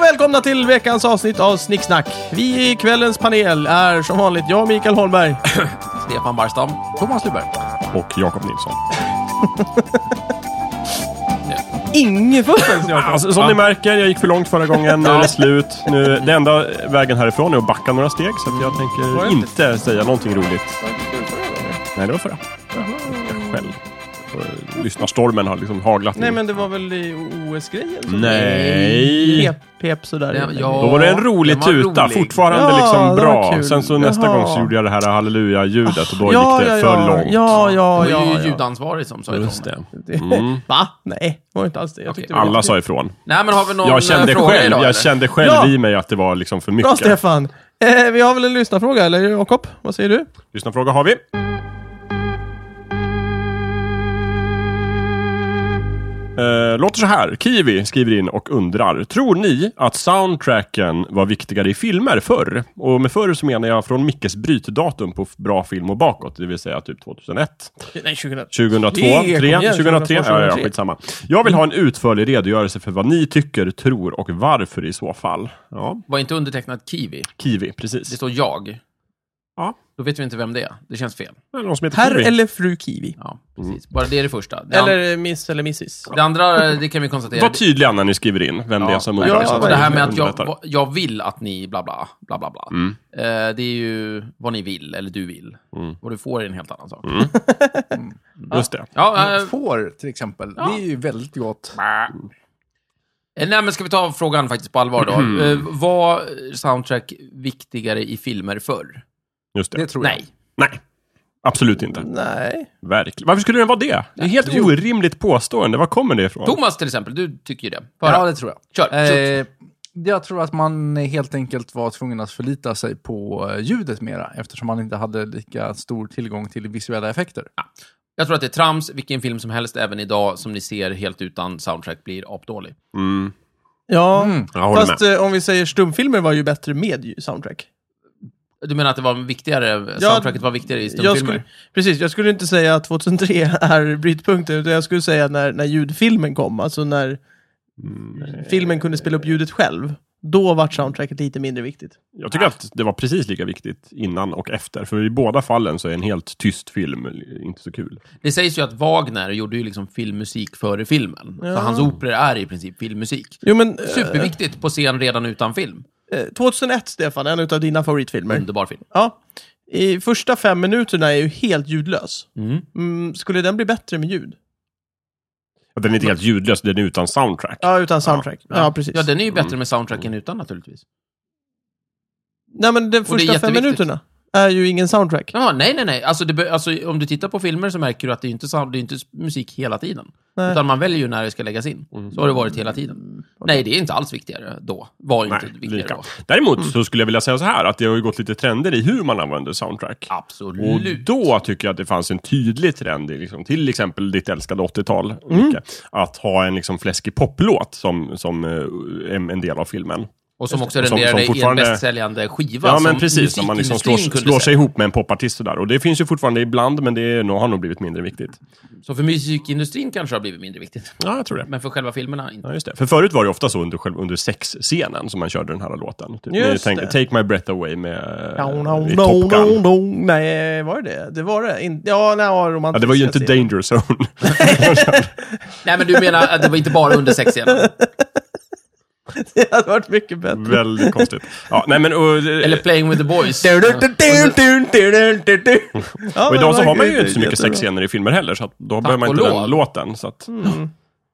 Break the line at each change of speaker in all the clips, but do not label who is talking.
välkomna till veckans avsnitt av Snicksnack. Vi i kvällens panel är som vanligt jag, Mikael Holmberg.
Stefan Barstam. Thomas Lyberg.
och Jakob Nilsson.
Inget förstås, Jakob.
Alltså, som ni märker, jag gick för långt förra gången. Nu är det slut. Nu, det enda vägen härifrån är att backa några steg, så att jag tänker inte säga någonting roligt. Nej, det var förra. Jag själv. Och eh, Lyssnarstormen har liksom haglat.
Nej,
nu.
men det var väl i OS-grejen? som
Nej.
Pep, pep sådär.
Ja,
helt
ja.
enkelt.
Då var det en rolig
Den var
tuta,
rolig.
fortfarande
Ja,
liksom
det var
bra.
kul.
Sen så nästa
Jaha.
gång så gjorde jag det här halleluja-ljudet och då
ja,
gick det
ja,
för
ja.
långt.
Ja, ja,
Det
ja.
var ju
ja.
ljudansvarig som sa ifrån.
Just det.
Det- Va? Nej, det var inte alls det. Jag
Okej.
tyckte det var
Mm. Alla
jättekul.
sa ifrån.
Nej, men har vi någon
Jag kände
eh, fråga
själv,
idag? eller?
jag kände själv
Ja.
i mig att det var liksom för
Bra,
mycket.
Stefan. Eh, vi har väl en lyssnarfråga, eller Jakob? Vad säger du?
Lyssnarfråga har vi. Eh, låter så här. Kiwi skriver in och undrar. Tror ni att soundtracken var viktigare i filmer förr? Och med förr så menar jag från Mickes brytdatum på f- bra film och bakåt, det vill säga typ 2001.
Nej, 2000.
2002,
Det-
3,
kom igen,
2003, 2003. Ja, ja,
2003.
skitsamma. Jag vill ha en utförlig redogörelse för vad ni tycker, tror och varför i så fall. Ja,
Var inte undertecknat Kiwi.
Kiwi,
Det
precis.
står jag.
Ja,
Då vet vi inte vem det är. Det känns fel.
det är någon som heter
Herr
Kiwi.
eller fru Kiwi?
Ja,
Mm.
precis. Bara det är det första. Det, an-
Eller eh, miss eller missis?
det andra, eh, det kan vi konstatera.
Var tydliga när ni skriver in vem det Mm. är som
verkligen.
undrar.
Ja,
så att
Och det här med att
underlättar.
jag, jag vill att ni bla bla, bla bla bla. Eh, det är ju vad ni vill, eller du vill.
Mm.
Vad du får är en helt annan sak.
Just det.
Ja, eh,
Får till exempel. Det är ju väldigt gott.
Eh, Nej, men ska vi ta frågan faktiskt på allvar då?
Mm.
Eh, var soundtrack viktigare i filmer förr?
Just det.
Det tror jag.
Nej.
Nej, absolut inte.
Nej.
Verkligen. Varför skulle det vara det? Det är helt orimligt påstående. Var kommer det ifrån?
Thomas till exempel, du tycker ju det. Bara,
Ja, det tror jag.
Kör.
Eh, jag tror att man helt enkelt var tvungen att förlita sig på eh, ljudet mera eftersom man inte hade lika stor tillgång till visuella effekter.
Jag tror att det är trams. Vilken film som helst, även idag, som ni ser helt utan soundtrack blir apdålig.
Mm.
Ja.
Jag håller
Fast eh, om vi säger stumfilmer var ju bättre med ju soundtrack.
Du menar att det var viktigare, soundtracket var viktigare i
Jag
stumfilmer?
skulle, precis, jag skulle inte säga att 2003 är brytpunkten, utan jag skulle säga när, när ljudfilmen kom, alltså när filmen kunde spela upp ljudet själv. Då vart soundtracket lite mindre viktigt.
med. Jag tycker att det var precis lika viktigt innan och efter. För i båda fallen så är en helt tyst film inte så kul.
Det sägs ju att Wagner gjorde ju liksom filmmusik före filmen. Så hans operor är i princip filmmusik.
Jo men, eh,
Superviktigt på scen redan utan film.
eh, Mm. 2001 Stefan, en av dina favoritfilmer.
Underbar film.
Ja. I första fem minuterna är ju helt ljudlös. Mm, skulle den bli bättre med ljud?
Att Den är inte helt ljudlös, den är utan soundtrack.
Ja, utan soundtrack. Ja, precis.
Ja, den är ju
Mm.
bättre med soundtrack än utan naturligtvis.
Nej men den
är
första fem
jätteviktigt.
minuterna är ju ingen soundtrack.
Ja, nej, nej, nej. Alltså, det, be- alltså, om du tittar på filmer så märker du att det är ju inte, sound- det är ju inte musik hela tiden.
Nej.
Utan man väljer ju när det ska läggas in.
Mm.
Så har det varit hela tiden. Nej, det är inte alls viktigare då. Var ju inte
Nej,
viktigare
lika.
då.
Däremot så skulle jag vilja säga så här, att det har ju gått lite trender i hur man använder soundtrack. Och
Absolut.
då tycker jag att det fanns en tydlig trend, i liksom, till exempel ditt älskade 80-tal, Micke, att ha en liksom fläskig poplåt som, som eh, är en del av filmen.
Och som också
Och som-
renderade
som
i
fortfarande-
en bästsäljande skiva
Ja,
som
men precis. När man liksom slår,
musikindustrin kunde
slår sig
sälja.
ihop med en popartist sådär. Och det finns ju fortfarande ibland, men det är, nog- har nog blivit mindre viktigt.
Så för musikindustrin kanske det har blivit mindre viktigt.
Ja, jag tror det.
Men för själva filmerna, inte.
Ja, just det. För förut var det ofta så under, själv, under sexscenen som man körde den här låten. Typ.
Just
Tänk-
det.
Take My Breath Away med
Ja,
eh,
no,
i
no,
Top Gun.
no, no. Nej, var det det? Det var det. In, ja, nej, ja, romantiska
Ja, det var ju inte
scener.
Danger Zone.
Nej, men du menar att det var inte bara under sexscenen?
Det hade varit mycket bättre.
Väldigt konstigt. Ja, nej, men, och, eh,
Eller Playing with the Boys?
Du, du, du, du, du, du, du, du. Ja,
Och
men
idag så
det
har
var
man ju inte så mycket
jättebra.
sexscener i filmer heller, så att då behöver man
och
inte
lov.
den låten. Så att,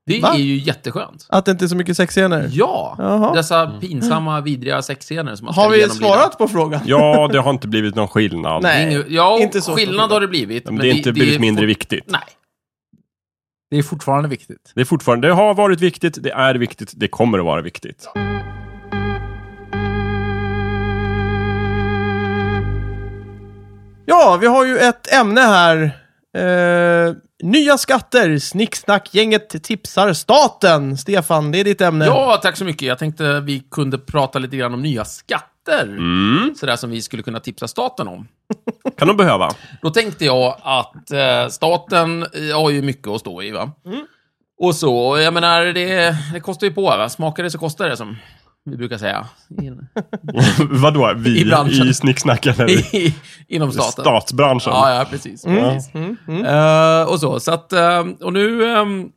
Det
Va?
är ju jätteskönt.
Att det inte är så mycket sexscener.
Ja,
Jaha.
Mm.
dessa pinsamma, vidriga sexscener som man ska
Har vi
genomlida.
svarat på frågan?
Ja, det har inte blivit någon skillnad.
Nej.
Inge- ja,
inte så
skillnad har det blivit.
Men det är inte blivit mindre viktigt.
Nej.
Det är fortfarande viktigt.
Det, är fortfarande, det har varit viktigt, det är viktigt, det kommer att vara viktigt.
Ja, vi har ju ett ämne här. Eh, nya skatter. Snicksnack-gänget tipsar staten. Stefan, det är ditt ämne.
Ja, tack så mycket. Jag tänkte vi kunde prata lite grann om nya skatter.
Mm.
Sådär som vi skulle kunna tipsa staten om.
Kan de behöva?
Då tänkte jag att eh, staten eh, har ju mycket att stå i,
Mm.
va? Och så, jag menar, det, det kostar ju på. Va? Smakar det så kostar det, som vi brukar säga. In,
Vadå? Vi
I branschen.
i, snicksnacken? eller?
i, inom staten.
Statsbranschen?
Ja, ja, precis.
Ja.
precis. Eh, och så, så att, eh, och nu... ehm,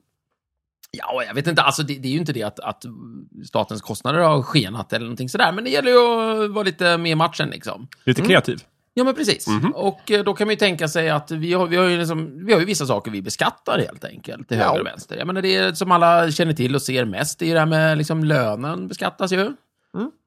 ja, jag vet inte, alltså det, det är ju inte det att, att statens kostnader har skenat eller någonting sådär, men det gäller ju att vara lite med i matchen liksom.
Lite kreativ.
Ja, men precis. Och eh, då kan man ju tänka sig att vi har, vi har, ju, liksom, vi har ju vissa saker vi beskattar helt enkelt, till höger och vänster. Jag menar, det är, som alla känner till och ser mest, det är ju det här med liksom, lönen beskattas ju.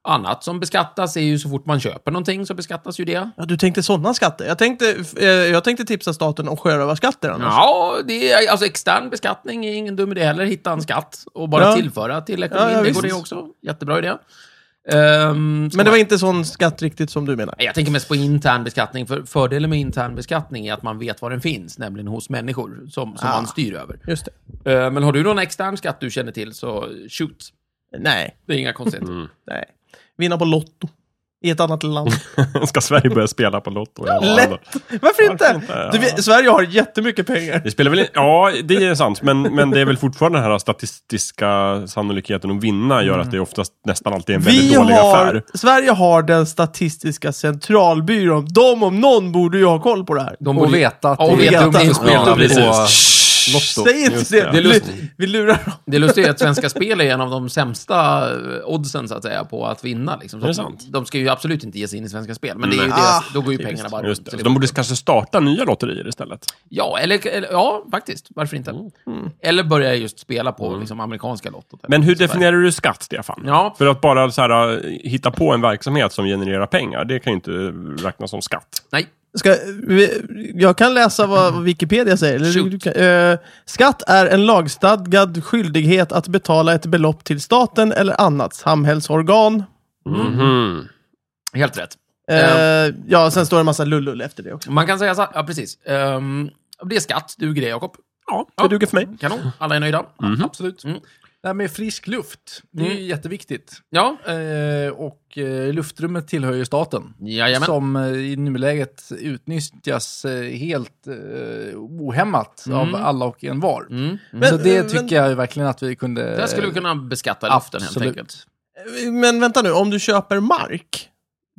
Annat som beskattas är ju så fort man köper någonting så beskattas ju det.
Ja, du tänkte sådana skatter. Jag tänkte, eh, jag tänkte tipsa staten om sjörövarskatter annars.
Ja, det är, alltså extern beskattning är ingen dum idé heller. Hitta en skatt och bara
Ja.
tillföra till ekonomin.
Ja, ja,
det går det
visst.
också. Jättebra idé. Ehm, ska
Men det
man-
var inte sån skatt riktigt som du menar?
Nej, Jag tänker mest på intern beskattning. För fördelen med intern beskattning är att man vet var den finns, nämligen hos människor som, som
Ah.
man styr över.
Just det.
Eh, Men har du någon extern skatt du känner till så shoot.
Nej.
Det är inga konstigheter.
Nej. Vinna på Lotto. I ett annat land.
Ska Sverige börja spela på Lotto? Ja,
Lätt! Varför inte?
inte?
Du vet, Sverige har jättemycket pengar.
Det spelar väl in... Ja, det är sant. Men, men det är väl fortfarande den här statistiska sannolikheten att vinna gör att det oftast nästan alltid är en väldigt
Vi
dålig
har,
affär.
Sverige har den statistiska centralbyrån. De om någon borde ju ha koll på det här.
De
Och veta att
Ja, och
det
veta
är
att det är
dumt att
skillnad,
spela på Lotto.
Säg inte
Just
det.
det.
Det är lustigt.
Vi- Vi lurar dem.
Det lustiga är att Svenska Spel är en av de sämsta eh, oddsen så att säga, på att vinna. Liksom. Så
Är det
att
sant?
De ska ju absolut inte ge sig in i Svenska Spel, men det är ju
Nej.
deras,
Ah,
då går ju pengarna bara
Just
runt.
det.
så
Så
det-
de borde kanske starta nya lotterier istället.
Ja, eller, eller, ja, faktiskt. Varför inte? Eller börja just spela på liksom, amerikanska lottot.
Mm. Men hur
Så där.
definierar du skatt, Stefan?
Ja.
För att bara så här, äh, hitta på en verksamhet som genererar pengar, det kan ju inte räknas som skatt.
Nej,
Ska, vi- jag kan läsa vad vad Wikipedia säger. Eller du-
Shoot.
du kan- eh, skatt är en lagstadgad skyldighet att betala ett belopp till staten eller annat samhällsorgan.
helt rätt.
Eh, ja, sen står det en massa lullull efter det också.
Man kan säga så här, ja precis. Ehm, det är skatt, duger det Jakob?
Ja, det
Ja.
duger för mig.
Kanon, alla är nöjda.
Absolut.
Mm.
Det här med frisk luft, det är ju jätteviktigt.
Ja,
Eh, och eh, luftrummet tillhör ju staten.
jajamän.
Som eh, i nuläget utnyttjas eh, helt eh, ohämmat av alla och en var.
Mm.
Så
Men,
det
eh,
tycker jag ju verkligen att vi kunde...
Där skulle
Eh,
vi kunna beskatta luften helt
absolut.
enkelt.
Men, men vänta nu, om du köper mark,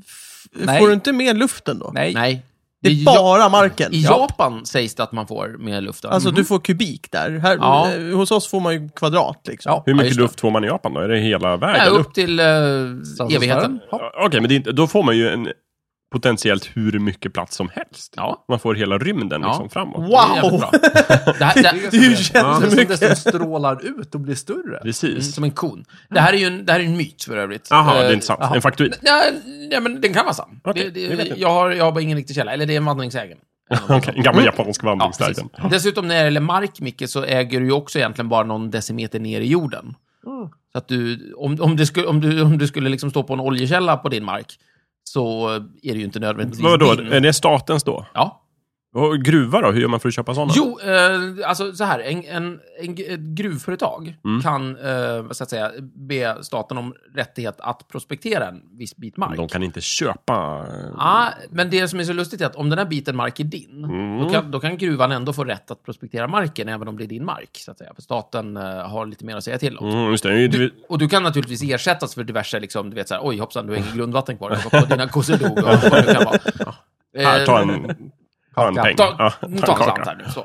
f-
Nej.
får du inte med luften då?
Nej.
Nej.
Det
I
är
Ja-
bara marken.
I
Ja.
Japan sägs det att man får mer Mm. luften.
Alltså
Mm.
du får kubik där. Här,
Ja.
eh, Hos oss får man ju kvadrat liksom.
Ja.
Hur
Ja,
mycket
just det.
luft får man i Japan då? Är det hela vägen
Nej,
upp?
upp till eh, evigheten.
Ja.
Ja, Okej, men det är inte, då får man ju en, potentiellt hur mycket plats som helst.
Ja.
Man får hela rymden
Ja.
liksom framåt.
Det är jävligt
Wow!
bra. Det här, det,
Det är ju
Det är som
jättemycket.
dessutom strålar ut och blir större.
Mm,
Precis.
Som en kon. Det här är ju en, det här är en myt för övrigt.
Jaha,
Eh,
det är inte sant.
jaha.
En faktoid.
Nej, nej, men den kan vara sann.
Okej,
det,
det vet
det,
jag.
jag, har, jag har bara ingen riktig källa. Eller det är en vandringssägen.
Okej, en gammal japansk
Mm. Ja,
vandringssägen.
precis. Dessutom när det gäller mark, Micke, så äger du ju också egentligen bara någon decimeter ner i jorden.
Mm.
Så att du, om, om, du skulle, om, du, om du skulle liksom stå på en oljekälla på din mark, så är det ju inte nödvändigtvis
Vadå,
din.
är det statens då?
Ja.
Och gruva då? Hur gör man för att köpa sådana?
Jo, eh, alltså så här, en, en, en, ett gruvföretag
Mm.
kan eh, vad ska jag säga, be staten om rättighet att prospektera en viss bit mark.
De kan inte köpa...
Ja, men det som är så lustigt är att om den här biten mark är din,
Mm.
då, kan, då kan gruvan ändå få rätt att prospektera marken, även om det är din mark. Så att säga. För staten eh, har lite mer att säga till om.
Mm, just det. Det är ju-
Du, och du kan naturligtvis ersättas för diverse, liksom, du vet så här, oj hoppsan, du har inget grundvatten kvar, Jakob, och dina kossor dog och vad det kan vara.
Här,
Eh,
ta en, ta en peng.
Ta,
Ja,
ta en slant här nu. Så.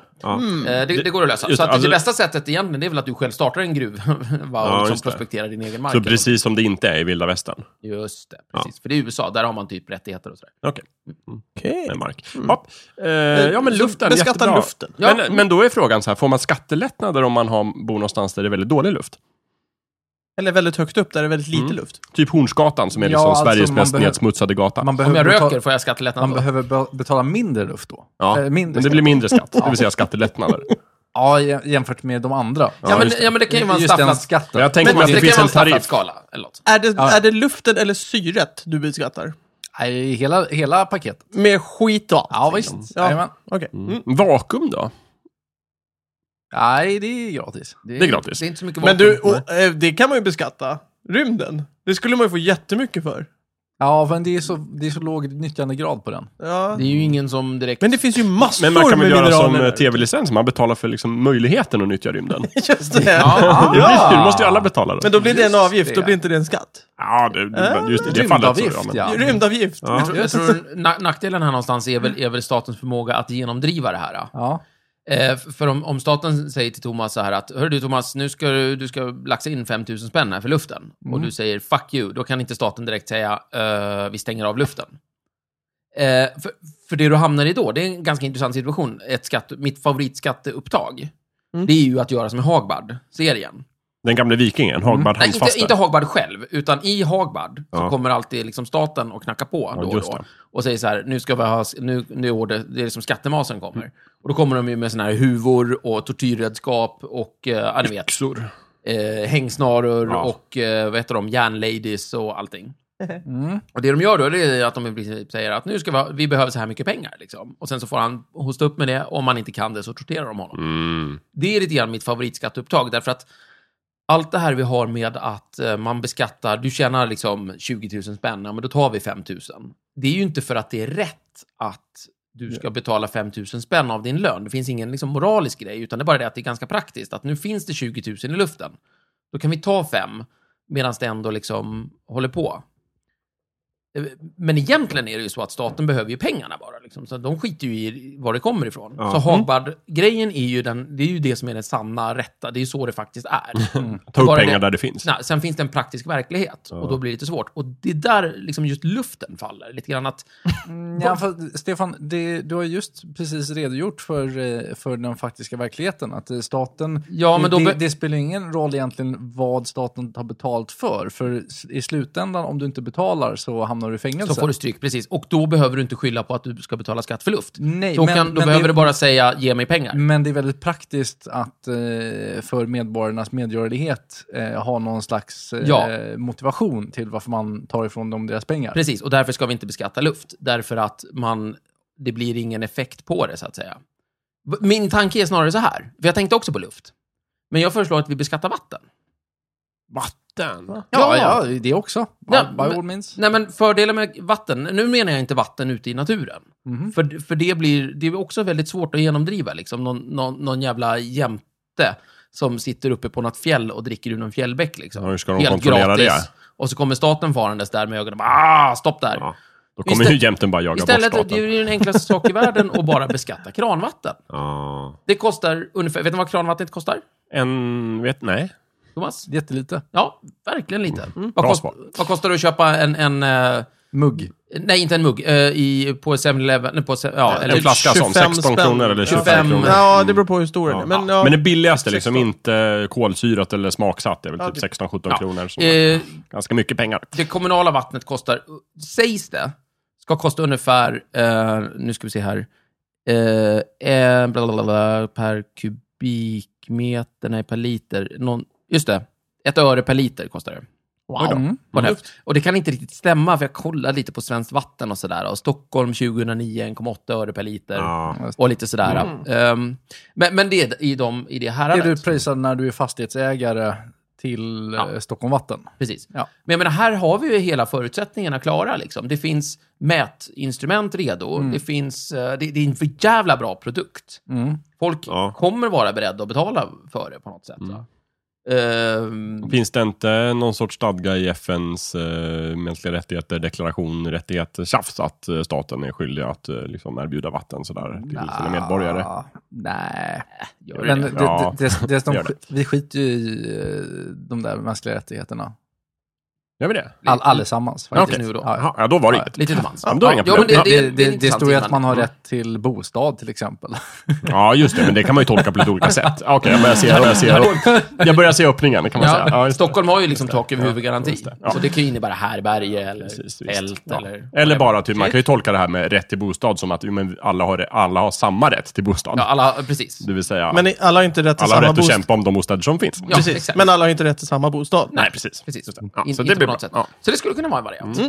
Eh, Det, det går att lösa.
Just
så
Mm.
att
det, alltså-
det bästa sättet egentligen det är väl att du själv startar en gruva och
Ja,
liksom
just det.
prospekterar din egen mark.
Så precis som det inte är i vilda västern.
Just det, precis. För det är USA, där har man typ rättigheter och sådär.
Okej, Mm.
Okej.
med mark. Ja, eh, ja, men
Så
luften,
beskatta
jättebra.
luften.
Ja.
Men, men då är frågan så här, får man skattelättnader om man har, bor någonstans där det är väldigt dålig luft?
Eller väldigt högt upp där det är väldigt lite
Mm.
luft.
Typ Hornsgatan som är
Ja,
liksom
alltså,
Sveriges
man
mest
behöver-
nedsmutsade gata.
Man
Om jag
behöver,
röker
betala,
får jag skattelättnad
man
då.
behöver be- betala mindre luft då.
Ja.
Eh, mindre
men det
skatt.
blir mindre skatt, det vill säga skattelättnader.
Ja, jä- jämfört med de andra.
Ja, men,
just det.
ja, men det kan ju vara en
Just den
stafflad...
skatten.
Men jag tänker
Men,
mig att
det,
det
kan
finns
vara en
en
stafflad
tariff.
skala. Eller något.
Är det,
Ja.
är det luften eller syret du beskattar?
Nej, hela, hela paketet.
Med skit och allt?
Ja, visst.
Ja.
Jajamän.
Okej. Mm.
Vakuum då?
Nej, det är gratis.
Det är gratis.
Det är inte så mycket
Men
vapen.
du, och, eh, det kan man ju beskatta. Rymden. Det skulle man ju få jättemycket för.
Ja, men det är så, det är så låg nyttjandegrad på den.
Ja.
Det är ju ingen som direkt...
Men det finns ju massor
Men man kan
med
väl göra som eh,
mineraler.
tv-licens, man betalar för liksom möjligheten att nyttja rymden.
Just det.
Ja.
Det blir kul, måste ju alla betala då.
Men då blir det en
Just
avgift, då
det.
blir inte det en skatt.
Ja, det,
Äh?
det, just i det fallet så
Rymdavgift,
ja. Men,
ja.
Rymdavgift.
Jag
ja.
tror, jag tror na nackdelen här någonstans är väl, är väl statens förmåga att genomdriva det här. ja.
Ja.
Eh, f- för om, om staten säger till Thomas så här att, hör du Thomas, nu ska du, du ska laxa in 5 000 spänn här för luften. Och du säger fuck you, då kan inte staten direkt säga, eh, vi stänger av luften. Eh, för, för det du hamnar i då, det är en ganska intressant situation. Ett skatt, mitt favoritskatteupptag, det är ju att göra som i Hagbard-serien.
Den gamle vikingen, Hagbard
Nej, inte,
Handfaste.
inte Hagbard själv, utan i Hagbard så
Ja.
kommer alltid liksom staten och knacka på då och
just
då.
det.
Och säger så här, nu ska vi ha, nu, nu är det, det är som skattemasen kommer. Och då kommer de ju med såna här huvor och tortyrredskap och, eh, ja, ni vet,
Yxor.
eh, hängsnaror
Ja.
och, eh, vad heter de, järnladies och allting.
Mm.
Och det de gör då, det är att de i princip säger att nu ska vi, ha, vi behöver så här mycket pengar. Liksom. Och sen så får han hosta upp med det, om han inte kan det så torterar de honom.
Mm.
Det är lite grann mitt favoritskatteupptag, därför att allt det här vi har med att eh, man beskattar, du tjänar liksom 20 000 spänn, ja, men då tar vi 5 000. Det är ju inte för att det är rätt att du ska betala 5 000 spänn av din lön. Det finns ingen liksom, moralisk grej, utan det är bara det att det är ganska praktiskt. Att nu finns det 20 000 i luften. Då kan vi ta 5 medan det ändå liksom håller på. Eh, Men egentligen är det ju så att staten behöver ju pengarna bara. Liksom. Så de skiter ju i var det kommer ifrån.
Ja. Mm.
Så Hagbard-grejen är ju den, det är ju det som är den sanna, rätta. Det är ju så det faktiskt är.
Mm. Ta
Bara
upp pengar
det-
där det finns.
Nej, sen finns det en praktisk verklighet och då blir det lite svårt. Och det är där liksom just luften faller. Lite grann att,
Ja, för Stefan, det, du har just precis redogjort för, eh, för den faktiska verkligheten. Att eh, staten...
Ja, men då
det,
be-
det spelar ingen roll egentligen vad staten har betalt för. För s- i slutändan, om du inte betalar så hamnar du i fängelse.
så får du stryk, precis. Och då behöver du inte skylla på att du ska betala skatt för luft.
Nej,
då
men-
kan, då
men
behöver
det- Mm.
du bara säga, ge mig pengar.
Men det är väldigt praktiskt att eh, för medborgarnas medgörlighet eh, ha någon slags eh,
Ja.
motivation till varför man tar ifrån dem deras pengar.
Precis, och därför ska vi inte beskatta luft. Därför att man, det blir ingen effekt på det, så att säga. V- Min tanke är snarare så här, för jag tänkte också på luft. Men jag föreslår att vi beskattar vatten.
Vatten.
Ja,
Ja.
ja, det också.
Ja,
Ja, by
men-
all means.
Nej, men fördelen med vatten, nu menar jag inte vatten ute i naturen.
Mhm.
För, för det blir det är också väldigt svårt att genomdriva, liksom. någon, någon, någon jävla jämte som sitter uppe på något fjäll och dricker ur någon fjällbäck. Liksom.
Ja, hur ska de kontrollera det?
Och så kommer staten farandes där med ögonen. bara, Ah, stopp där!
Ja. Då kommer
Istä-
ju jämten bara jaga bort
Istället, det
staten.
är ju den enklaste sak i världen att bara beskatta kranvatten.
Ja.
Det kostar ungefär, vet ni vad kranvattnet kostar?
En, vet, nej.
Thomas?
Jättelite.
Ja, verkligen lite. Vad,
Mm. Bra
kost,
svar.
vad kostar det att köpa en, en eh,
Mugg.
nej inte en mugg, eh, i, på 7-Eleven, nej, på se- ja, eller
En
en flaska.
flaska sån,
25
16
spänn.
kronor eller 25
25
kronor. Mm.
Ja, det beror på hur stor den
Ja.
är. Men, ja.
Men det billigaste, liksom,
16.
inte kolsyrat eller smaksatt, det är väl typ 16-17 kronor. Så
Eh,
ganska mycket pengar.
det kommunala vattnet kostar, sägs det, ska kosta ungefär, eh, nu ska vi se här, eh, eh, bla, bla, bla, bla, per kubikmeter, nej per liter, någon, just det, ett öre per liter kostar det.
Wow.
Mm.
på en höft. Och det kan inte riktigt stämma, för jag kollade lite på Svenskt Vatten och sådär. Och Stockholm 2009, 1,8 öre per liter.
Ja.
Och lite sådär. Ehm, men, men det är i, de, i det
Det
häradet.
du prisar när du är fastighetsägare till
Ja.
eh, Stockholm Vatten.
Precis.
Ja.
Men jag menar, här har vi ju hela förutsättningarna klara. Liksom. Det finns mätinstrument redo.
Mm.
Det, finns, eh, det, det är en för jävla bra produkt.
Mm.
Folk
Ja. Mm.
kommer vara beredda att betala för det på något sätt. va? Ehm,
Finns det inte någon sorts stadga i FNs eh, mänskliga rättigheter, deklaration, rättigheter, tjafs att eh, staten är skyldig att eh, liksom erbjuda vatten sådär till sina medborgare?
Ah, Nej.
gör det
Men det,
det?
det,
Ja,
det, det,
gör
de,
det.
vi skiter ju i eh, de där mänskliga rättigheterna.
Gör vi det?
All, allesammans. faktiskt.
Okej.
Ja,
Jaha, ja, då var det
Ja.
inget.
Lite till mans.
Ja, men då är det inga problem.
Det, det, det,
intressant
står ju att
inblandning.
man har rätt till bostad till exempel.
Ja, just det, men det kan man ju tolka på lite olika sätt. Okej, jag börjar se, jag börjar se, jag börjar se öppningen, kan man
Ja,
säga. Ja, just det.
Stockholm har ju liksom tak över huvudgaranti.
just det. Ja.
Så det kan ju innebära härbärge eller
Precis, visst.
tält
Ja.
eller...
Eller bara, typ, man kan ju tolka det här med rätt till bostad som att jo, men alla, har, alla har samma rätt till bostad.
Ja, alla, precis.
Det vill säga,
Men i- alla har inte rätt till
alla har
samma
rätt att
bostad.
kämpa om de bostäder som finns.
Ja,
Precis.
exakt.
Men alla har inte rätt till samma bostad.
Nej, precis.
precis.
Just det. Ja,
In,
så
så,
det
det
blir
på något
bra.
sätt.
Ja. Mm.
så det skulle kunna vara en variant.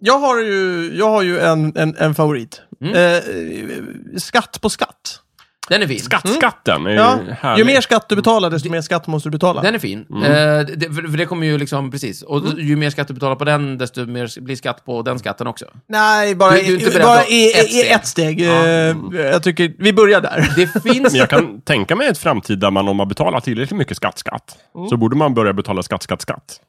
Jag har
Mm.
ju, jag har ju en, en, en favorit. Eh, skatt på skatt.
Den är fin.
Skattskatten är ju
Mm. Ja.
härlig.
Ju mer skatt du betalar, desto mer skatt måste du betala.
Den är fin. Eh, det, för för det kommer ju liksom, precis. Och ju mer skatt du betalar på den, desto mer blir skatt på den skatten också.
Nej, bara,
Du- du är inte
i,
beredd
bara
att-
i,
ett
ett
steg.
steg. Ett steg. Eh, Jag tycker, vi börjar där.
Det finns...
Men jag kan tänka mig ett framtid där man om man betalar tillräckligt mycket skatt, skatt,
Mm.
så borde man börja betala skatt, skatt, skatt.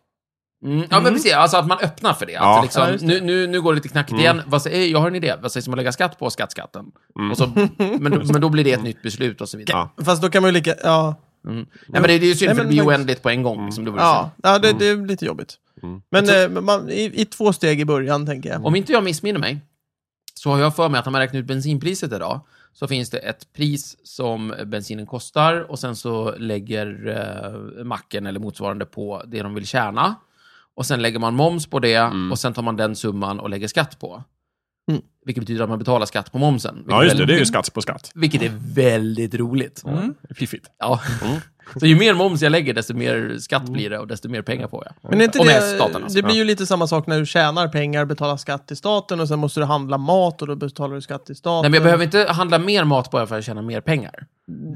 Mm, ja, men precis. Alltså att man öppnar för det.
Ja.
Att
Ja,
liksom,
just
nu, nu, nu går det lite knackigt igen. Vad säger, jag har en idé. Vad sägs om att lägga skatt på skattskatten? Och så, men, då- men då blir det ett nytt beslut och så vidare.
Ja.
Fast då kan man ju lika... Ja.
Nej, men det, det är ju
Nej,
synd, för
men
det blir
faktiskt-
oändligt på en gång. Liksom, det vore synd.
Ja, ja det, det är lite jobbigt. Men eh, men man, i, i två steg i början, tänker
Mm.
jag.
Om inte jag missminner mig, så har jag för mig att när man räknar ut bensinpriset idag, så finns det ett pris som bensinen kostar och sen så lägger eh, macken eller motsvarande på det de vill tjäna. Och sen lägger man moms på det
Mm.
och sen tar man den summan och lägger skatt på.
Mm.
Vilket betyder att man betalar skatt på momsen. Vilket
Ja, just det.
väl-
Det är ju skatt på skatt.
Vilket är väldigt roligt.
Mm.
Fiffigt. Mm.
Ja. Så ju mer moms jag lägger, desto mer skatt blir det och desto mer pengar får jag.
Men är inte
Och med
det,
staten alltså.
det blir ju lite samma sak när du tjänar pengar, betalar skatt till staten och sen måste du handla mat och då betalar du skatt till staten.
Nej, men jag behöver inte handla mer mat bara för att tjäna mer pengar.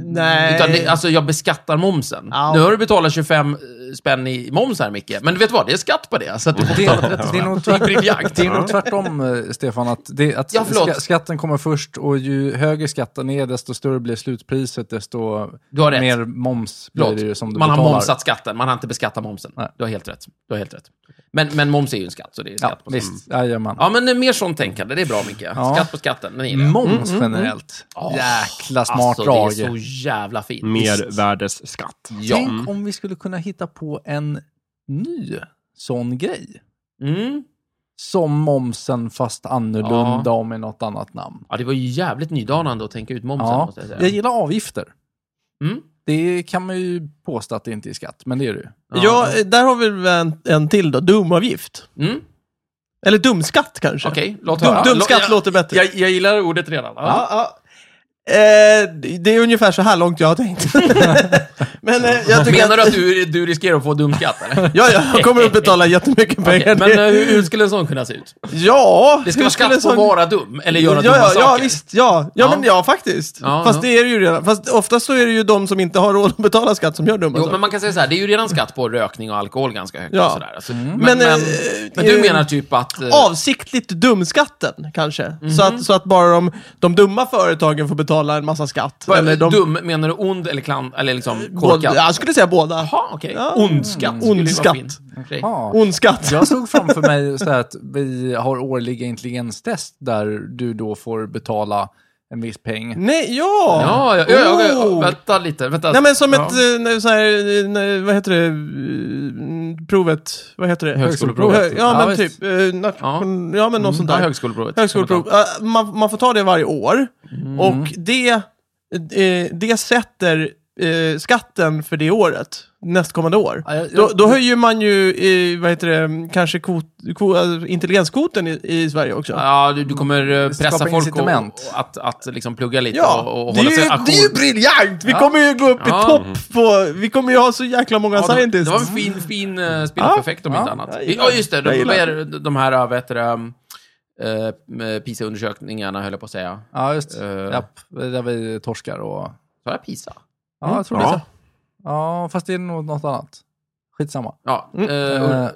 Nej.
Utan det, alltså jag beskattar momsen.
Ja.
Nu har du betalat 25 spänn i moms här Micke, men du vet vad? Det är skatt på det. Så att du får
Det
betala 30
är, det, är
spänn.
nog
Det är
tvärt,
briljant.
det är nog tvärtom, eh, Stefan. Att, det, att
Ja, förlåt.
ska, skatten kommer först och ju högre skatten är, desto större blir slutpriset, desto
Du har rätt.
mer moms blir det ju som
Förlåt.
du
Man har
betalar.
momsat skatten, man har inte beskattat momsen.
Nej.
Du har helt rätt. Du har helt rätt. Men, men moms är ju en skatt, så det är skatt
Ja,
på skatten.
visst. Jajamän.
Ja, men eh, mer sånt tänkande. Det är bra Micke.
Ja.
Skatt på skatten, den gillar jag.
Moms generellt.
Åh,
Jäkla smart drag.
mm, Alltså, det är så jävla fint.
Mervärdesskatt.
Ja.
Tänk om vi skulle kunna hitta på en ny sån grej.
Mm.
Som momsen fast annorlunda
Ja.
och med något annat namn.
Ja, det var ju jävligt nydanande att tänka ut momsen,
Ja.
måste jag
Jag
säga.
gillar avgifter.
Mm.
Det kan man ju påstå att det inte är skatt, men det är det ju.
Ja, eh, där har vi väl en, en till då. Dumavgift.
Mm.
Eller dumskatt kanske.
Okej, låt
Dum,
höra.
dumskatt
Lå-
låter bättre.
jag, jag, jag gillar ordet redan. Ja.
Ja, ja. Eh, det är ungefär så här långt jag har tänkt. Men eh, jag tycker
Menar du
att...
att du, du riskerar att få dumskatt? eller?
Ja, ja, jag kommer att betala jättemycket pengar.
Okej, men eh, hur, hur skulle en sån kunna se ut?
ja,
Det ska
hur skulle
vara skatt på
sån-
att vara dum, eller göra
ja,
dumma
ja,
saker.
ja, visst. Ja, ja,
Ja.
men ja, faktiskt.
Ja,
Fast
ja.
det är det ju redan. Fast oftast så är det ju de som inte har råd att betala skatt som gör dumma
Jo, men
saker.
man kan säga så här, det är ju redan skatt på rökning och alkohol ganska högt.
Ja.
Och sådär. Alltså, men, men,
Men, eh,
men, du
eh,
menar typ att... eh,
Avsiktligt dumskatten, kanske.
Mhm.
så, att, så att bara de, de dumma företagen får betala en massa skatt.
vad-
eller de,
Dum, menar du ond eller klan, eller liksom
båda,
korkad?
ja, Jag skulle säga båda.
Jaha, okej.
Ja.
Ond skatt
Mm.
skulle ju
Ond
vara
skatt.
fint. Okej.
Ja.
Ond skatt.
Jag såg framför mig så här att vi har årliga intelligenstest där du då får betala en viss
Mm.
peng.
Nej, ja!
Ja, ja, ja, ja, ja,
Oh.
vänta lite. Vänta.
Nej men som
ja.
ett, eh, nej, så här, eh, nej, vad heter det, Eh, provet, vad heter det?
Högskoleprovet.
Hö- Ja,
Ja,
men
visst.
typ, eh, nation, ja. men något sånt
Ja,
där.
högskoleprovet.
Högskoleprov. Eh, man, man får ta det varje år.
Mm.
Och det, eh, det sätter eh, skatten för det året, nästkommande år.
Ja, jag- jag-
Då, då höjer man ju, eh, vad heter det, kanske kvot, kvot, eh, intelligenskvoten i, i Sverige också.
Ja, du, du kommer eh, pressa
Skapa
folk
incitament.
Och, att, att liksom plugga lite
Ja,
och, och
det,
hålla
är ju,
sig
det är ju briljant! Vi kommer ju gå upp
Ja.
i topp på... Vi kommer ju ha så jäkla många
Ja, det, det
scientists.
var en fin, fin eh, spin-off-effekt om
Ja,
inte annat.
jag gillar
Ja, just det.
Jag
De,
gillar
de, de här, eh, vad heter det, um, eh, med PISA-undersökningarna höll jag på att säga.
Ja, just
Eh.
Japp, där vi torskar och...
Sa jag PISA?
Ja, jag tror det.
Ja.
Ja, fast det är nog något annat. Skitsamma.
Ja. eh, och-
Eh,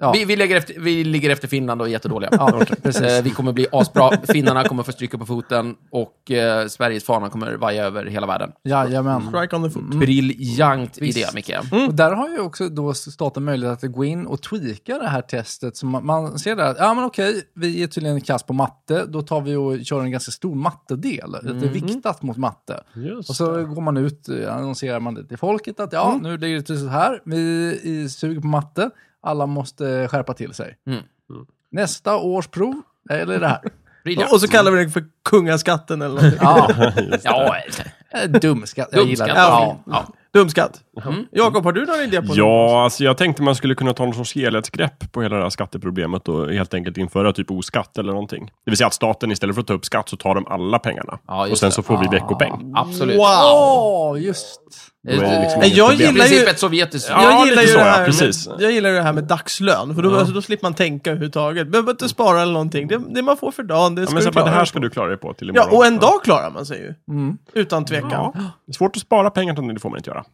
ja.
Vi, vi, ligger efter, vi ligger efter Finland och är jättedåliga.
Ja, precis.
Eh, vi kommer bli asbra. Finnarna kommer få stryka på foten och eh, Sveriges fana kommer vaja över hela världen.
Jajamän.
Strike on the foot.
Briljant
Visst.
idé,
Mm.
Micke.
Mm.
Och där har ju också då staten möjlighet att gå in och tweaka det här testet. Så man, man ser där, ja men okej, vi är tydligen kass på matte, då tar vi och kör en ganska stor mattedel.
Mm.
Lite viktat mot matte. och så går man ut, eh, annonserar man det till folket att
Mm.
ja, nu ligger det till så här, vi är suger på matte, alla måste skärpa till sig.
Mm.
Nästa års prov, eller det här.
Briljant.
Och så kallar vi den för kungaskatten eller någonting.
Ja,
Ja, eh,
dumskatt. Jag gillar
dumskatt.
det.
Ja.
Ja.
Ja.
Dumskatt.
Mm.
Jakob, har du någon idé på det?
Ja, alltså jag tänkte man skulle kunna ta någon sorts helhetsgrepp på hela det här skatteproblemet och helt enkelt införa typ oskatt eller någonting. Det vill säga att staten istället för att ta upp skatt så tar de alla pengarna.
Ja, just
och sen
det.
så
Ah.
får vi veckopeng.
Absolut.
Wow!
Åh, just.
Det är
Då är det liksom
Nej,
inget
jag
problem.
gillar-
princip ett sovjetiskt
Ja,
jag,
lite
gillar ju
så,
det
ja,
här
precis.
med, jag gillar ju det här med dagslön, för då, alltså, då slipper man tänka överhuvudtaget. Behöver inte spara eller någonting. Det, det man får för dagen, det
Ja,
ska
men så
du
bara,
klara.
det här ska du klara dig på till imorgon.
Ja, och en dag klarar man sig ju.
Mm.
Utan tvekan.
Ja. Det är svårt att spara pengar, men det får man inte göra.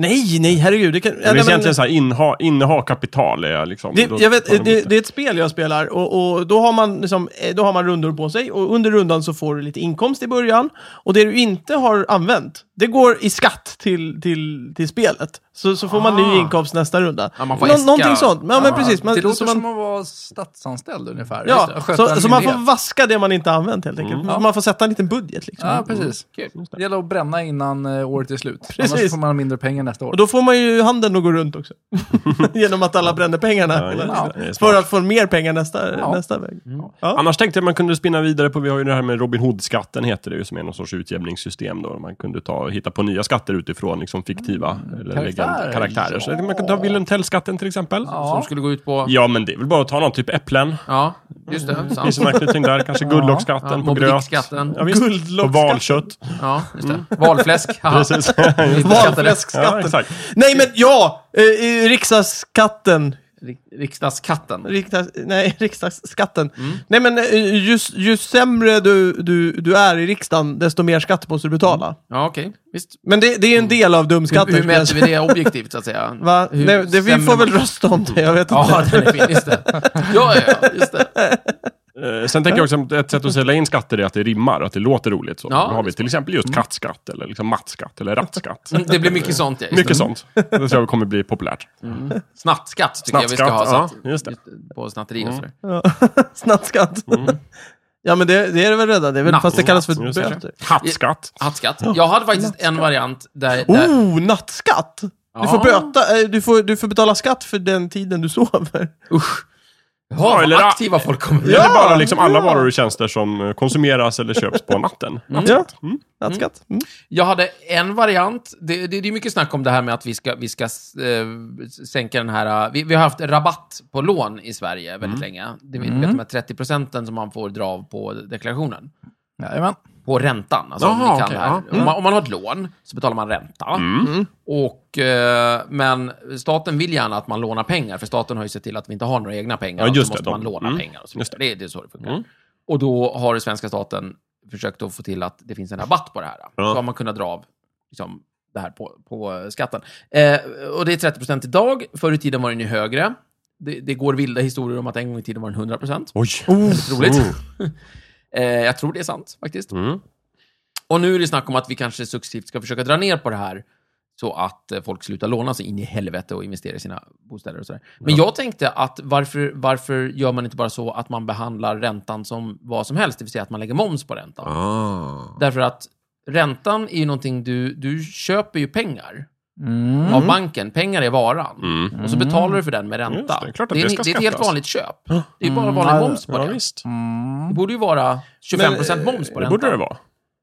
Nej, nej, herregud. Det kan,
Det
nej,
finns
men-
egentligen så här, inneha, inneha kapital är liksom...
Det,
då
jag
tar de
vet, det,
inte.
det är ett spel jag spelar och, och då, har man liksom, eh, då har man rundor på sig och under rundan så får du lite inkomst i början och det du inte har använt, det går i skatt till, till, till spelet. Så, så får man
Ah.
ny inkomst nästa runda.
Ja, man får
Nå-
äska.
någonting sånt. Ja, men precis. Man,
det låter
så
som,
man,
att vara statsanställd ungefär. Just det,
ja,
att sköta
så,
en
så man får
myndighet.
vaska det man inte har använt helt enkelt.
Ja.
Man får sätta en liten budget liksom.
Ja, precis.
Kul.
Det gäller att bränna innan eh, året är slut.
Precis.
Annars får man mindre pengar nästa år.
Och då får man ju handen att gå runt också. Genom att alla bränner pengarna.
Ja, just
Eller-
det. Det är smart.
för att få mer pengar nästa,
Ja.
nästa väg. Ja.
Annars tänkte jag man kunde spinna vidare på, vi har ju det här med Robin Hood-skatten heter det ju, som är någon sorts utjämningssystem då. Man kunde ta, hitta på nya skatter utifrån liksom fiktiva eller
Karaktärer.
karaktärer. karaktärer. Så man kan ta Wilhelm Tell-skatten till exempel. Ja.
Som
Ja.
skulle gå ut på...
men det är väl bara att ta någon, typ äpplen.
Ja, just det.
Det finns en
Sant.
anknytning där, kanske
Ja,
guldlocksskatten på
Moby
gröt.
Dick-skatten.
Ja, visst. Och
Guldlocksskatten.
valkött.
Ja, just det. Valfläsk. haha.
Precis.
Inte skattade.
ja,
Valfläskskatten.
exakt.
Nej men ja! Eh, eh, riksdagskatten.
Rik- Riksdagskatten.
Riksdags, nej, riksdagsskatten. Nej men eh, ju, ju sämre du, du, du är i riksdagen, desto mer skatt måste du betala.
Ja, okej. Visst.
Men det, det är en del av dumskatten.
Hur, hur
skulle jag
mäter vi
säga.
det objektivt, så att säga?
Va?
Hur
Nej, det, vi
stämmer
får väl
man-
rösta om det, jag vet inte.
Ja, den är fin. Just det. Ja, ja, ja, just det.
Eh, Sen tänker jag också att ett sätt att sälja in skatter är att det rimmar, att det låter roligt. Så.
Ja,
Då har vi till exempel just kattskatt, eller liksom mattskatt, eller rattskatt.
Mm, Det blir mycket sånt, ja. just det.
Mycket sånt. Det tror jag kommer bli populärt.
Snattskatt tycker jag vi ska ha.
Snattskatt,
Så att,
ja, just det. Mm.
På snatteri och sådär.
Ja. Snattskatt.
Mm.
Ja men det, det är det väl redan, det är väl,
Natt-
fast det kallas för
just det.
böter.
Hattskatt.
Hattskatt. Jag hade faktiskt en variant där... där
Oh, nattskatt! Du får,
Ja.
böta, eh, du, får, du får betala skatt för den tiden du
Mm.
sover.
Usch.
Ja,
Ja,
Oh, eller-
vad aktiva folk kommer bli.
Ja,
Eller bara liksom alla
ja.
varor och tjänster som eh, konsumeras eller köps på
Mm.
natten.
Ja. Nattskatt. Mm.
Jag hade en variant. Det, det, det är mycket snack om det här med att vi ska, vi ska eh, sänka den här... eh, Vi, vi har haft rabatt på lån i Sverige väldigt länge. Det vet mm. de här 30 procenten som man får dra av på deklarationen.
Jajamän.
På räntan. Alltså, om,
Jaha,
ni kan
okej,
det här.
ja. Mm.
Om, man, om man har ett lån så betalar man ränta. Och, eh, men staten vill gärna att man lånar pengar, för staten har ju sett till att vi inte har några egna pengar.
Ja,
alltså
just det,
måste man
de-
låna
mm.
pengar. Och så
Just Mm.
vidare. det. Det, är så det funkar. Och då har den svenska staten försökt att få till att det finns en rabatt på det här.
Ja.
Så har man kunnat dra av liksom, det här på, på skatten. Eh, och det är 30 procent idag. Förr i tiden var den ju högre. Det, det går vilda historier om att en gång i tiden var den 100 procent.
Oj. Oh.
Roligt. eh, jag tror det är sant, faktiskt.
Mm.
Och nu är det snack om att vi kanske successivt ska försöka dra ner på det här så att eh, folk slutar låna sig in i helvete och investera i sina bostäder och sådär. Men jag tänkte att varför, varför gör man inte bara så att man behandlar räntan som vad som helst, det vill säga att man lägger moms på räntan.
Ah.
Därför att räntan är ju någonting du, du köper ju pengar
Mm.
av banken. Pengar är varan.
Mm.
Och så betalar du för den med ränta.
Just det, klart att
är,
det
en-
ska
det är ett helt
skattas.
vanligt köp. Det är ju bara vanlig
Mm.
moms på
Ja,
det.
visst.
Det borde ju vara 25%
Men, eh,
moms på
Det
räntan.
borde det vara.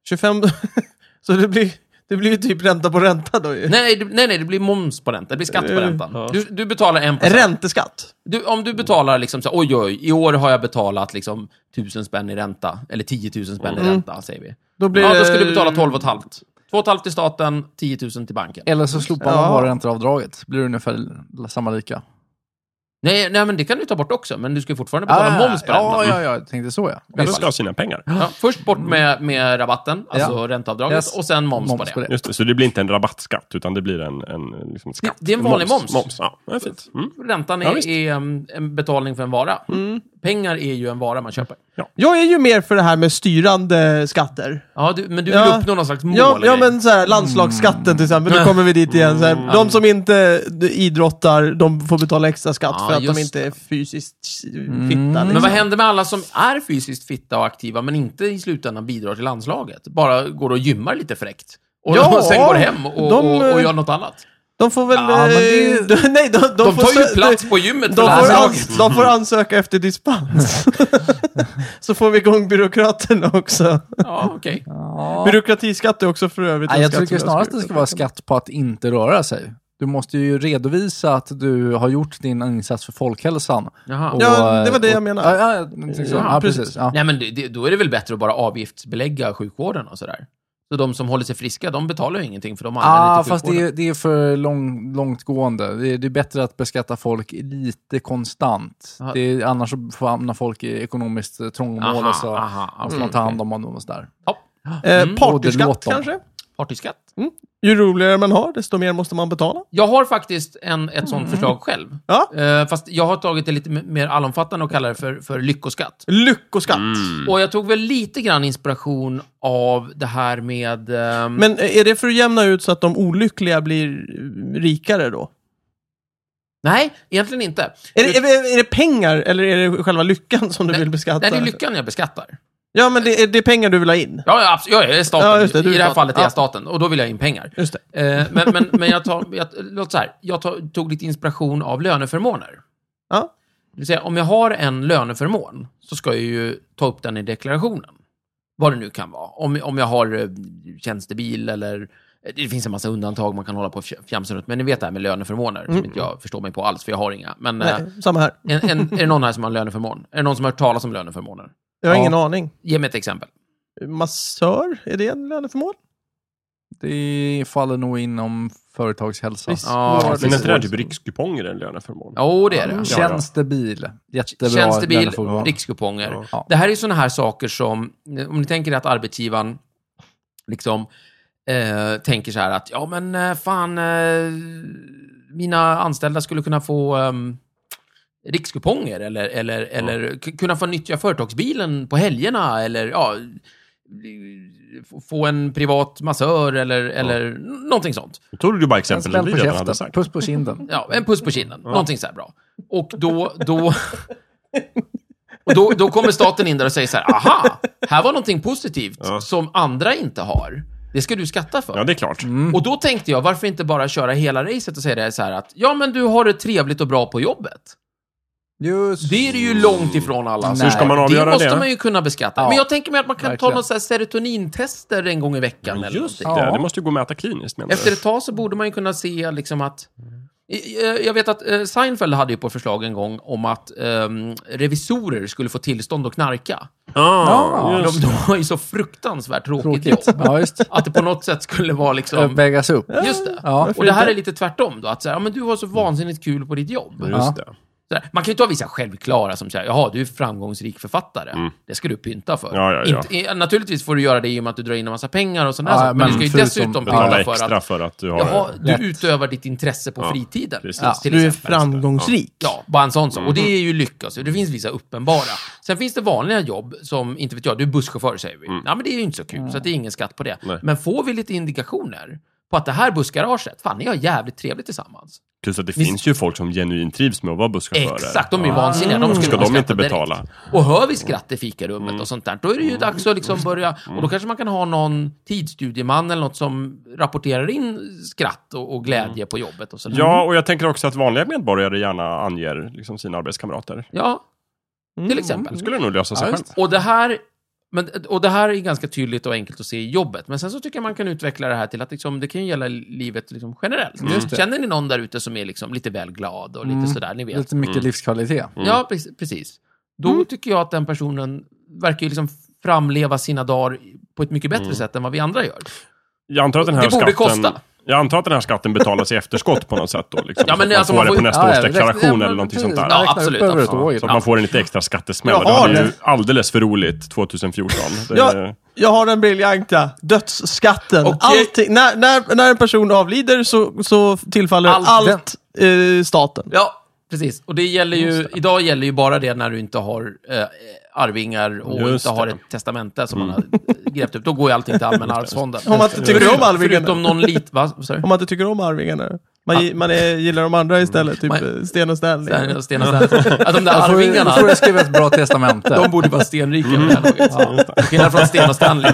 25... så det blir, det blir ju typ ränta på ränta då ju.
Nej, det, nej, nej, det blir moms på räntan. Det blir skatt på
Eh,
räntan.
ja.
Du, du betalar en procent.
Ränteskatt.
Du, om du betalar liksom så här, oj, oj, i år har jag betalat liksom tusen spänn i ränta. Eller 10 000 spänn i ränta, säger vi.
Då blir
ja,
det-
då ska du betala 12 och ett halvt. 2 och halvt till staten, 10 000 till banken.
Eller så slopar
Ja.
man bara ränteavdraget. Blir det ungefär samma lika.
Nej, nej, men det kan du ta bort också. Men du ska fortfarande betala moms på räntan.
Ah, ja, ja, ja, jag tänkte så ja.
Alla ska ha sina pengar.
Ja, först bort med, med rabatten, alltså ränteavdraget,
Yes.
och sen moms, på det.
Just det, så det blir inte en rabattskatt, utan det blir en, en liksom skatt.
Det- det är en vanlig moms.
moms. Ja, det är fint. Mm.
Räntan är,
Ja, visst.
är um, en betalning för en vara. Pengar är ju en vara man köper.
Jag är ju mer för det här med styrande skatter.
Ja, du, men du vill
Ja.
uppnå någon slags mål. Mm.
Ja,
och
ja
grejer.
men så här, landslagsskatten till exempel, då kommer vi dit igen. Så här, de som inte idrottar, de får betala extra skatt
Ja,
för att
just Mm.
de inte är fysiskt fitta.
Men vad
Liksom.
händer med alla som är fysiskt fitta och aktiva, men inte i slutändan bidrar till landslaget? Bara går och gymmar lite fräckt. Och
Ja,
sen går hem och,
de, eh,
och, och gör något annat.
De får väl...
Ja, men det är-
eh, de, nej, de, de,
De
får
tar ju
sö-
plats
de,
på
de,
gymmet för
får
landslaget.
ans- de får ansöka efter dispens. Så får vi igång byråkraterna också.
Ja, okej.
Ja.
Byråkratiskatt är också för övrigt
Nej,
en
jag
skatt
tycker
som
snarast
skulle-
det ska vara skatt på att inte röra sig. Du måste ju redovisa att du har gjort din insats för folkhälsan.
Jaha.
Och,
Ja, det var det jag
och-
menade.
Ja, ja, jag tänkte så.
Ja,
ja
precis.
precis. Ja.
Nej, men det- det, då är det väl bättre att bara avgiftsbelägga sjukvården och sådär. Så de som håller sig friska, de betalar ju ingenting för de använder
Ah,
till
fast det
sjukvården.
är, det är för lång, långtgående. Det är, det är bättre att beskatta folk lite konstant.
Aha.
Det är, annars så får- hamnar folk i ekonomiskt eh, trångmål
Aha,
och så
aha, aha,
måste man ta hand om dem och sådär.
Eh,
Mm.
partyskatt
Åderlåt dem.
kanske?
Partyskatt.
Ju roligare man har, desto mer måste man betala.
Jag har faktiskt en, ett
Mm.
sånt förslag själv.
Ja.
Eh, fast jag har tagit det lite m- mer allomfattande och kallar det för, för lyckoskatt.
Lyckoskatt.
Och jag tog väl lite grann inspiration av det här med... ehm,
Men eh, är det för att jämna ut så att de olyckliga blir eh, rikare då?
Nej, egentligen inte.
Är det, är, det- är det pengar eller är det själva lyckan som du
Nej,
vill beskatta?
Nej, det är lyckan jag beskattar.
Ja, men det är, det är pengar du vill ha in.
Ja, ja absolut. Jag är staten.
Ja, just det, du är
I det här
staten.
fallet är
Ja.
jag staten och då vill jag in pengar.
Just det.
Eh, men, men, men jag tar, jag, låt så här, jag tar, tog lite inspiration av löneförmåner.
Ja.
Det vill säga, om jag har en löneförmån så ska jag ju ta upp den i deklarationen. Vad det nu kan vara. Om, om jag har eh, tjänstebil eller... eh, Det finns en massa undantag man kan hålla på och fj- fjamsa runt, men ni vet det här med löneförmåner som inte jag förstår mig på alls, för jag har inga. Men eh,
Mm. Nej, samma här.
en, en, är det någon här som har en löneförmån? Är det någon som har hört talas om löneförmåner?
Jag har
Ja.
ingen aning.
Ge mig ett exempel.
Massör, är det en löneförmån?
Det faller nog inom företagshälsa.
Frisk-
Ja,
vård.
Men är inte det här typ rikskuponger eller löneförmån?
Jo, det är det.
Ja, ja.
Tjänstebil. Jättebra.
Tjänstebil,
löneförmån.
rikskuponger.
Ja.
Det här är sådana här saker som, om ni tänker er att arbetsgivaren liksom eh, tänker så här att, ja men eh, fan, eh, mina anställda skulle kunna få ehm, rikskuponger eller, eller, eller k- kunna få nyttja företagsbilen på helgerna eller ja, f- få en privat massör eller, eller n- någonting sånt.
Jag trodde du bara
En
exempel som
spänn
vi
på
redan hade
käften.
sagt.
Puss på kinden.
Ja, en puss på kinden. Någonting så här bra. Och då... då och då, då kommer staten in där och säger så här, aha, här var någonting positivt
Ja.
som andra inte har. Det ska du skatta
Ja,
för.
det Mm. är klart.
Och då tänkte jag, varför inte bara köra hela racet och säga det så här att, ja men du har det trevligt och bra på jobbet.
Just.
Det är det ju långt ifrån alla.
Så hur ska
Nej,
Mm. man avgöra
Det måste
det?
man ju kunna beskatta.
Ja,
Men jag tänker mig att man kan
verkligen.
ta något så här serotonintester en gång i veckan eller
Just
någonting.
Ja.
det, det måste ju gå att mäta kliniskt menar
Efter
du?
ett tag så borde man ju kunna se liksom att... I- eh, Jag vet att eh, Seinfeld hade ju på förslag en gång om att ehm, revisorer skulle få tillstånd att knarka.
Ah,
Ja.
De,
just.
de har ju så fruktansvärt tråkigt,
Tråkigt.
jobb.
Ja, just.
Att det på något sätt skulle vara liksom...
Vägas upp.
Just det.
Ja.
Och det här är lite tvärtom då. Att så här, ja, men du har så vansinnigt kul på ditt jobb.
Just det.
Så här, man kan ju ta vissa självklara som säger, jaha, du är framgångsrik författare. Det ska du pynta för.
Mm. Ja, ja, ja.
Inte, eh, naturligtvis får du göra det i och med att du drar in en massa pengar och sådana
Ja,
saker. Men,
men
du ska ju
förutom-
dessutom
Betala
pynta för att
extra för att du har...
Jaha, du
Lätt.
utövar ditt intresse på
Ja,
fritiden.
precis.
Ja, till
Du är
exempel.
framgångsrik.
Ja, bara en sån sak. Och
Mm.
det är ju lycka. Så det finns vissa uppenbara. Sen finns det vanliga jobb som, inte vet jag, du är busschaufför säger vi. Ja, men det är ju inte så kul, så att det är ingen skatt på det.
Mm. Nej.
Men får vi lite indikationer på att det här bussgaraget, fan, ni har jävligt trevligt tillsammans.
Plus att det
Visst.
finns ju folk som genuint trivs med att vara busschaufförer. Mm.
Exakt, de är ju vansinniga. De
Ska
skulle
de
beskatta
inte
direkt.
betala? Mm.
Och hör vi skratt i fikarummet och sånt där, då är det ju dags att liksom börja... Och då kanske man kan ha någon tidsstudieman eller något som rapporterar in skratt och, och glädje på jobbet och sådär.
Mm. Ja, och jag tänker också att vanliga medborgare gärna anger liksom, sina arbetskamrater.
Ja,
Mm,
till
Det
exempel.
skulle nog lösa sig
Ja,
själv.
visst.
Och det här... Men, och det här är ganska tydligt och enkelt att se i jobbet. Men sen så tycker jag man kan utveckla det här till att liksom, det kan ju gälla livet liksom generellt.
Mm. Just det.
Känner ni någon där ute som är liksom lite väl glad och lite
Mm.
sådär, ni vet?
Lite mycket livskvalitet.
Ja, precis- precis. Då
Mm.
tycker jag att den personen verkar ju liksom framleva sina dagar på ett mycket bättre
Mm.
sätt än vad vi andra gör.
Jag antar att den här
Det borde
skatten...
kosta.
Jag antar att den här skatten betalas i efterskott på något sätt då. Liksom,
Ja,
så
men
att man
alltså,
får
man
det
får
på
ju-
nästa års
ja,
deklaration
räkna-
eller någonting sånt där.
Ja,
räkna upp
absolut,
Över ett
absolut.
år
Så
ju.
att man får en lite extra skattesmäll.
Jag
Det
har
hade ju
det.
alldeles för roligt 2014. Det,
Ja. Jag har den briljanta dödsskatten.
Okej.
Allting, när, när, när en person avlider så, så tillfaller
Allt
allt eh, staten.
Ja, precis. Och det gäller ju, idag gäller ju bara det när du inte har eh, arvingar och
Just
inte har
det.
ett testamente som man har eh, grävt upp. Då går ju allting till Allmänna arvsfonden.
Om man inte tycker om
Förutom-
arvingarna.
Förutom någon lit... Va? Sorry.
Om man inte tycker om arvingarna. Man, gi- man är, gillar de andra istället, typ
Ah. Man-
eh, Sten och Stanley.
Sten- Sten och Sten. Att de där
Då får du-
arvingarna,
Då får du skriva ett bra testamente.
de borde vara stenrika vid det här laget. Till Skillnad från Sten och Stanley.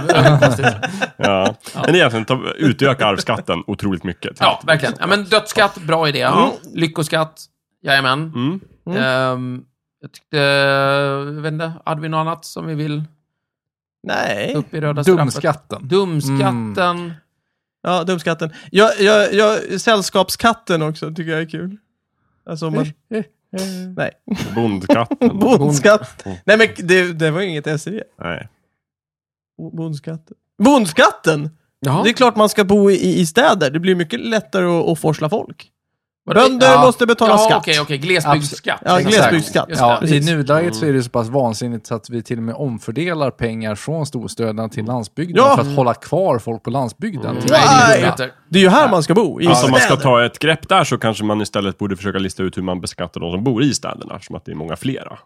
Ja. Men egentligen, ta- utöka arvsskatten otroligt mycket.
Ja, verkligen. Ja, men dödsskatt, bra idé. Lyckoskatt, jajamän.
Mm.
Ehm, jag tyckte, jag vet inte, hade vi något annat som vi vill ta
Nej,
upp i röda straffet?
Dumskatten.
Dumskatten.
Mm. ja, dumskatten. Jag, jag, jag, sällskapskatten också tycker jag är kul. Alltså om man... Nej,
Bondskatten.
bondskatt. Nej men det, det var ju inget SE.
Nej.
Bondskatten. Bondskatten!
Jaha.
Det är klart man ska bo i, i städer. Det blir mycket lättare att, att forsla folk.
Vadå?
Bönder
Ja.
måste betala
Ja,
skatt.
okej, okej. Glesbygdsskatt.
Ja,
Exakt.
glesbygdsskatt.
Just det.
Ja, I
precis.
nuläget så är det så pass vansinnigt så att vi till och med omfördelar pengar från storstäderna till landsbygden
Ja.
för att hålla kvar folk på landsbygden.
Nej,
Till
det är
Why?
inte bättre.
Det är ju här man ska bo, i
Alltså, om man ska
städer.
ta ett grepp där så kanske man istället borde försöka lista ut hur man beskattar de som bor i städerna, eftersom att det är många flera.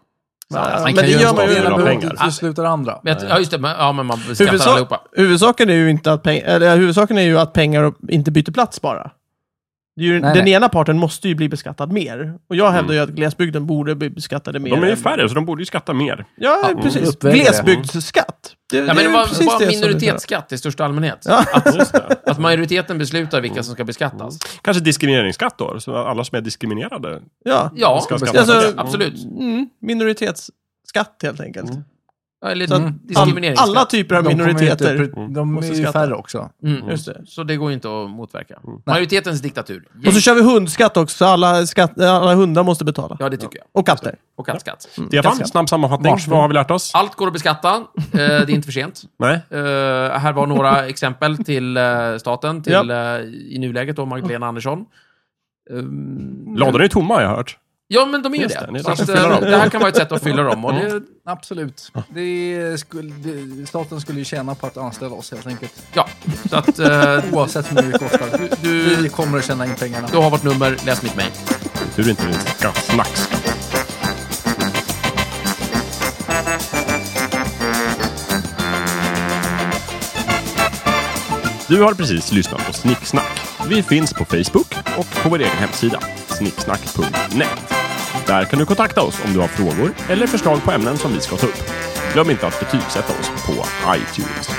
Ja,
Man
men
kan
det
ju
gör man ju
en
ena
stor
redan.
del av
behöver
pengar.
inte utesluta det andra.
Men jag ty- Ja, just det. Men, ja, men man beskattar
Huvudsa
allihopa.
huvudsaken är ju inte att, peng- eller, huvudsaken är ju att pengar och- inte byter plats bara. Det är ju,
Nej,
den
nej.
ena parten måste ju bli beskattad mer. Och jag hävdar ju
Mm.
att glesbygden borde bli beskattade mer.
De är ju
än-
färre, så de borde ju skatta mer.
Ja,
Ja,
precis.
uppväger det.
Glesbygdsskatt. Det,
Ja, men det
är
var,
precis
var
det som det
minoritetsskatt i största allmänhet.
Just det.
Att majoriteten beslutar vilka som ska beskattas.
Mm.
Kanske diskrimineringsskatt då, så alla som är diskriminerade.
Ja,
Ja,
Ska
alltså,
beskattas.
absolut.
mm, minoritetsskatt helt enkelt.
Ja, Eller
Så att All,
Mm. diskrimineringsskatt.
alla typer av
De kommer ju
minoriteter.
Inte, pr- de
Måste
är ju
skatta.
färre också.
Mm.
Just det.
Så det går ju inte att motverka. Majoritetens diktatur.
Mm. Och så kör vi hundskatt också, så alla, skatt, alla hundar måste betala.
Ja, det tycker jag.
Och katter.
Och kattskatt.
Mm.
Stefan, snabb sammanfattning.
Varsågod.
Vad har vi lärt oss?
Allt går att beskatta. Eh, Det är inte för sent.
Nej?
Eh, här var några exempel till eh, staten, till eh, i nuläget då Magdalena Andersson. Ehm,
Ladorna är tomma har jag hört.
ja, men de är ju
Just
det.
det, ni
så att,
ska fylla
eh,
dem. Mm.
det här kan vara ett sätt att fylla dem. Och det,
Eh, Absolut. Det skulle, det, staten skulle ju tjäna på att anställa oss helt enkelt.
ja, så att eh,
Oavsett hur mycket det kostar.
Du-
Vi kommer att tjäna in pengarna.
du har vårt nummer, läs mitt mejl.
Tur inte det är en skatt- snackskatt. Du har precis lyssnat på Snicksnack. Vi finns på Facebook och på vår egen hemsida, snicksnack.net. Där kan du kontakta oss om du har frågor eller förslag på ämnen som vi ska ta upp. Glöm inte att betygsätta oss på iTunes.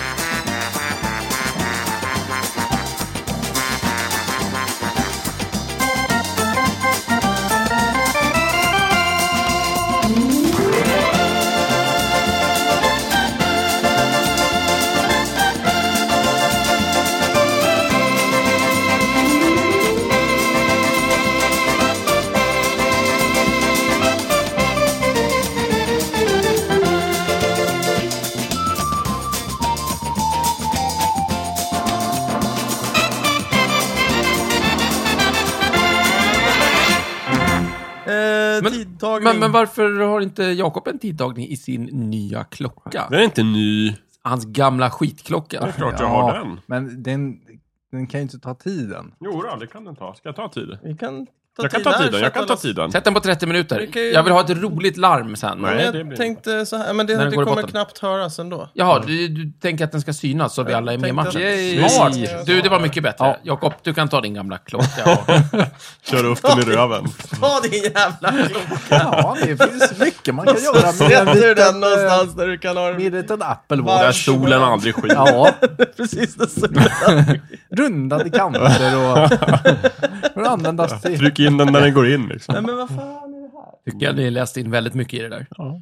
Eh,
Men-
tidtagning.
Men, men varför har inte Jakob en tidtagning i sin nya klocka?
Den är inte ny.
Hans gamla skitklocka.
Klart jag
Ja,
har den.
Men den, den kan ju inte ta tiden.
Jo, då, det kan den ta. Ska jag ta tiden?
Vi kan ta
Jag kan
tid
ta
här,
tiden.
så
Jag
att
kan ta
alla-
tiden.
Sätt den på 30
Det
minuter.
kan ju-
Jag vill ha ett roligt larm sen.
Nej.
Jag
det Mm. blir-
tänkte så här, men det,
När
det
går i
kommer
botten.
knappt höras ändå.
Jaha, du, du tänker att den ska synas så vi alla är med i
tänkte
matchen?
att-
Smart!
Yay.
Du, det var mycket bättre. Jakob, du kan ta din gamla klocka. Och...
Kör upp den i röven.
Ta din jävla klocka!
Ja, det finns mycket man kan göra med,
Sätt
med, eh,
ur den någonstans där du kan ha den.
med en liten
Där
Apple
Där
stod-
Watch.
solen aldrig skiner.
Ja,
Precis där solen-
rundade kanter och... För att användas till...
Tryck in den när den går in. Liksom.
Nej men vad fan är det här?
Tycker jag ni läste in väldigt mycket i det där.